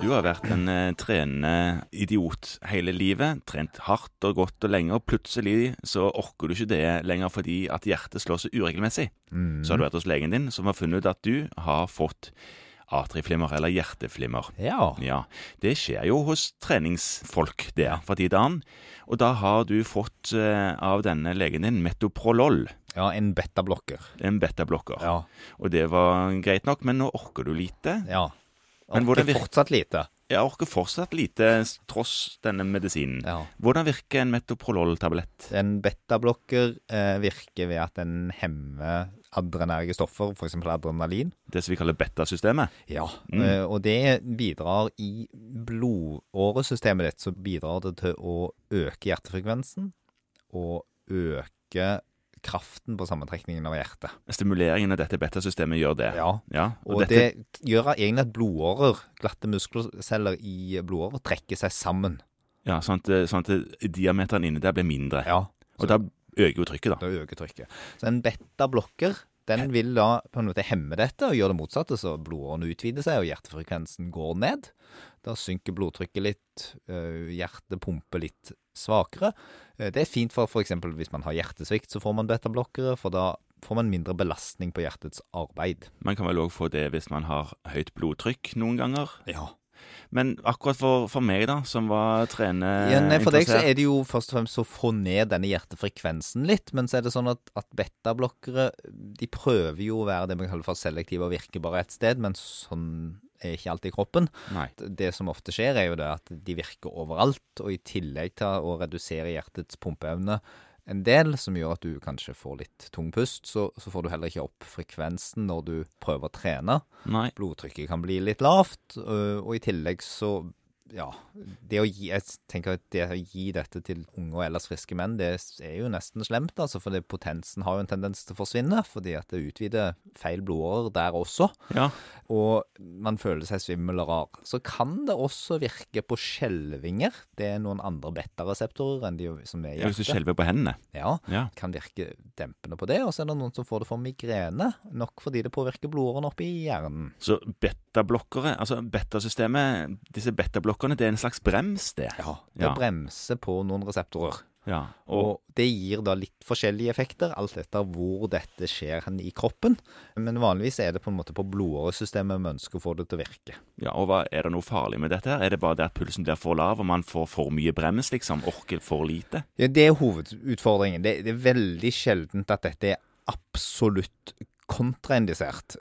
du har vært en eh, trenende idiot hele livet. Trent hardt og godt og lenge, og plutselig så orker du ikke det lenger fordi at hjertet slår så uregelmessig. Mm. Så har du vært hos legen din, som har funnet ut at du har fått atrieflimmer, eller hjerteflimmer. Ja. Ja, det skjer jo hos treningsfolk der fra tid til annen. Og da har du fått eh, av denne legen din metoprolol, ja, en betablokker. en betablokker. Ja. Og det var greit nok, men nå orker du lite. ja. Men hvordan Orker virker- fortsatt lite. Jeg orker fortsatt lite s- tross denne medisinen. Ja. Hvordan virker en metoprolol-tablett? En betablokker eh, virker ved at den hemmer adrenerge stoffer, f.eks. adrenalin. Det som vi kaller betasystemet? Ja. Eh, og det bidrar i blodåresystemet ditt, så bidrar det til å øke hjertefrekvensen og øke kraften på sammentrekningen av hjertet. Stimuleringen av dette betasystemet gjør det. Ja. og, Og dette, det gjør egentlig at blodårer, glatte muskelceller i blodårer, trekker seg sammen. ja, sånn, at, sånn at diameteren inni der blir mindre. Ja, og da øker jo trykket, da. Da øker trykket. Så en beta-blokker den vil da på en måte hemme dette og gjøre det motsatte, så blodårene utvider seg og hjertefrekvensen går ned. Da synker blodtrykket litt, øh, hjertet pumper litt svakere. Eh, Det er fint for f.eks. hvis man har hjertesvikt, så får man beta-blokkere, for da får man mindre belastning på hjertets arbeid. Man kan vel òg få det hvis man har høyt blodtrykk noen ganger. Ja. Men akkurat for, for meg, da, som var trenerinteressert Ja, nei, for deg så er det jo først og fremst å få ned denne hjertefrekvensen litt, men så er det sånn at, at betablokkere de prøver jo å være det man kaller for selektive og virke bare ett sted, men sånn er ikke alltid kroppen. Nei. Det som ofte skjer, er jo det at de virker overalt, og i tillegg til å redusere hjertets pumpeevne en del, som gjør at du kanskje får litt tung pust, så, så får du heller ikke opp frekvensen når du prøver å trene Nei. blodtrykket kan bli litt lavt, øh, og i tillegg så ja, det å gi, jeg tenker at det å gi dette til unge og ellers friske menn, det er jo nesten slemt, altså, for det, potensen har jo en tendens til å forsvinne, fordi at det utvider feil blodårer der også, Ja. og man føler seg svimmel og rar. Så kan det også virke på skjelvinger, det er noen andre beta-reseptorer enn de som er i Hvis du hjertet. skjelver på hendene. Ja, Ja. kan virke dempende på det, og så er det noen som får det for migrene, nok fordi det påvirker blodårene oppe i hjernen. Så betablokkere, altså betasystemet, disse betablokkerne, det er en slags brems, det. Ja, det Ja. bremser på noen reseptorer. Ja. Og, Og det gir da litt forskjellige effekter, alt etter hvor dette skjer hen i kroppen. Men vanligvis er det på en måte på blodåresystemet vi ønsker å få det til å virke. ja, og hva, er det noe farlig med dette? her? Er det bare det at pulsen blir for lav, og man får for mye brems, liksom? Orker for lite? Ja, det er hovedutfordringen. Det, det er veldig sjeldent at dette er absolutt kontraindisert.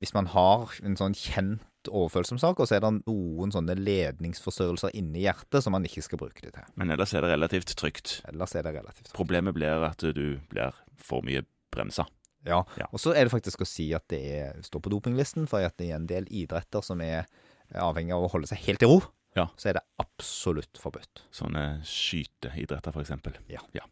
Hvis man har en sånn kjent overfølsom sak, og så er det noen sånne ledningsforstørrelser inni hjertet som man ikke skal bruke det til. Men ellers er det relativt trygt. Ellers er det relativt. Problemet blir at du blir for mye bremsa. Ja, Ja. og så er det faktisk å si at det er, står på dopinglisten, for at det er en del idretter som er avhengig av å holde seg helt i ro. Ja. Så er det absolutt forbudt. Sånne skyteidretter, for eksempel. Ja. ja.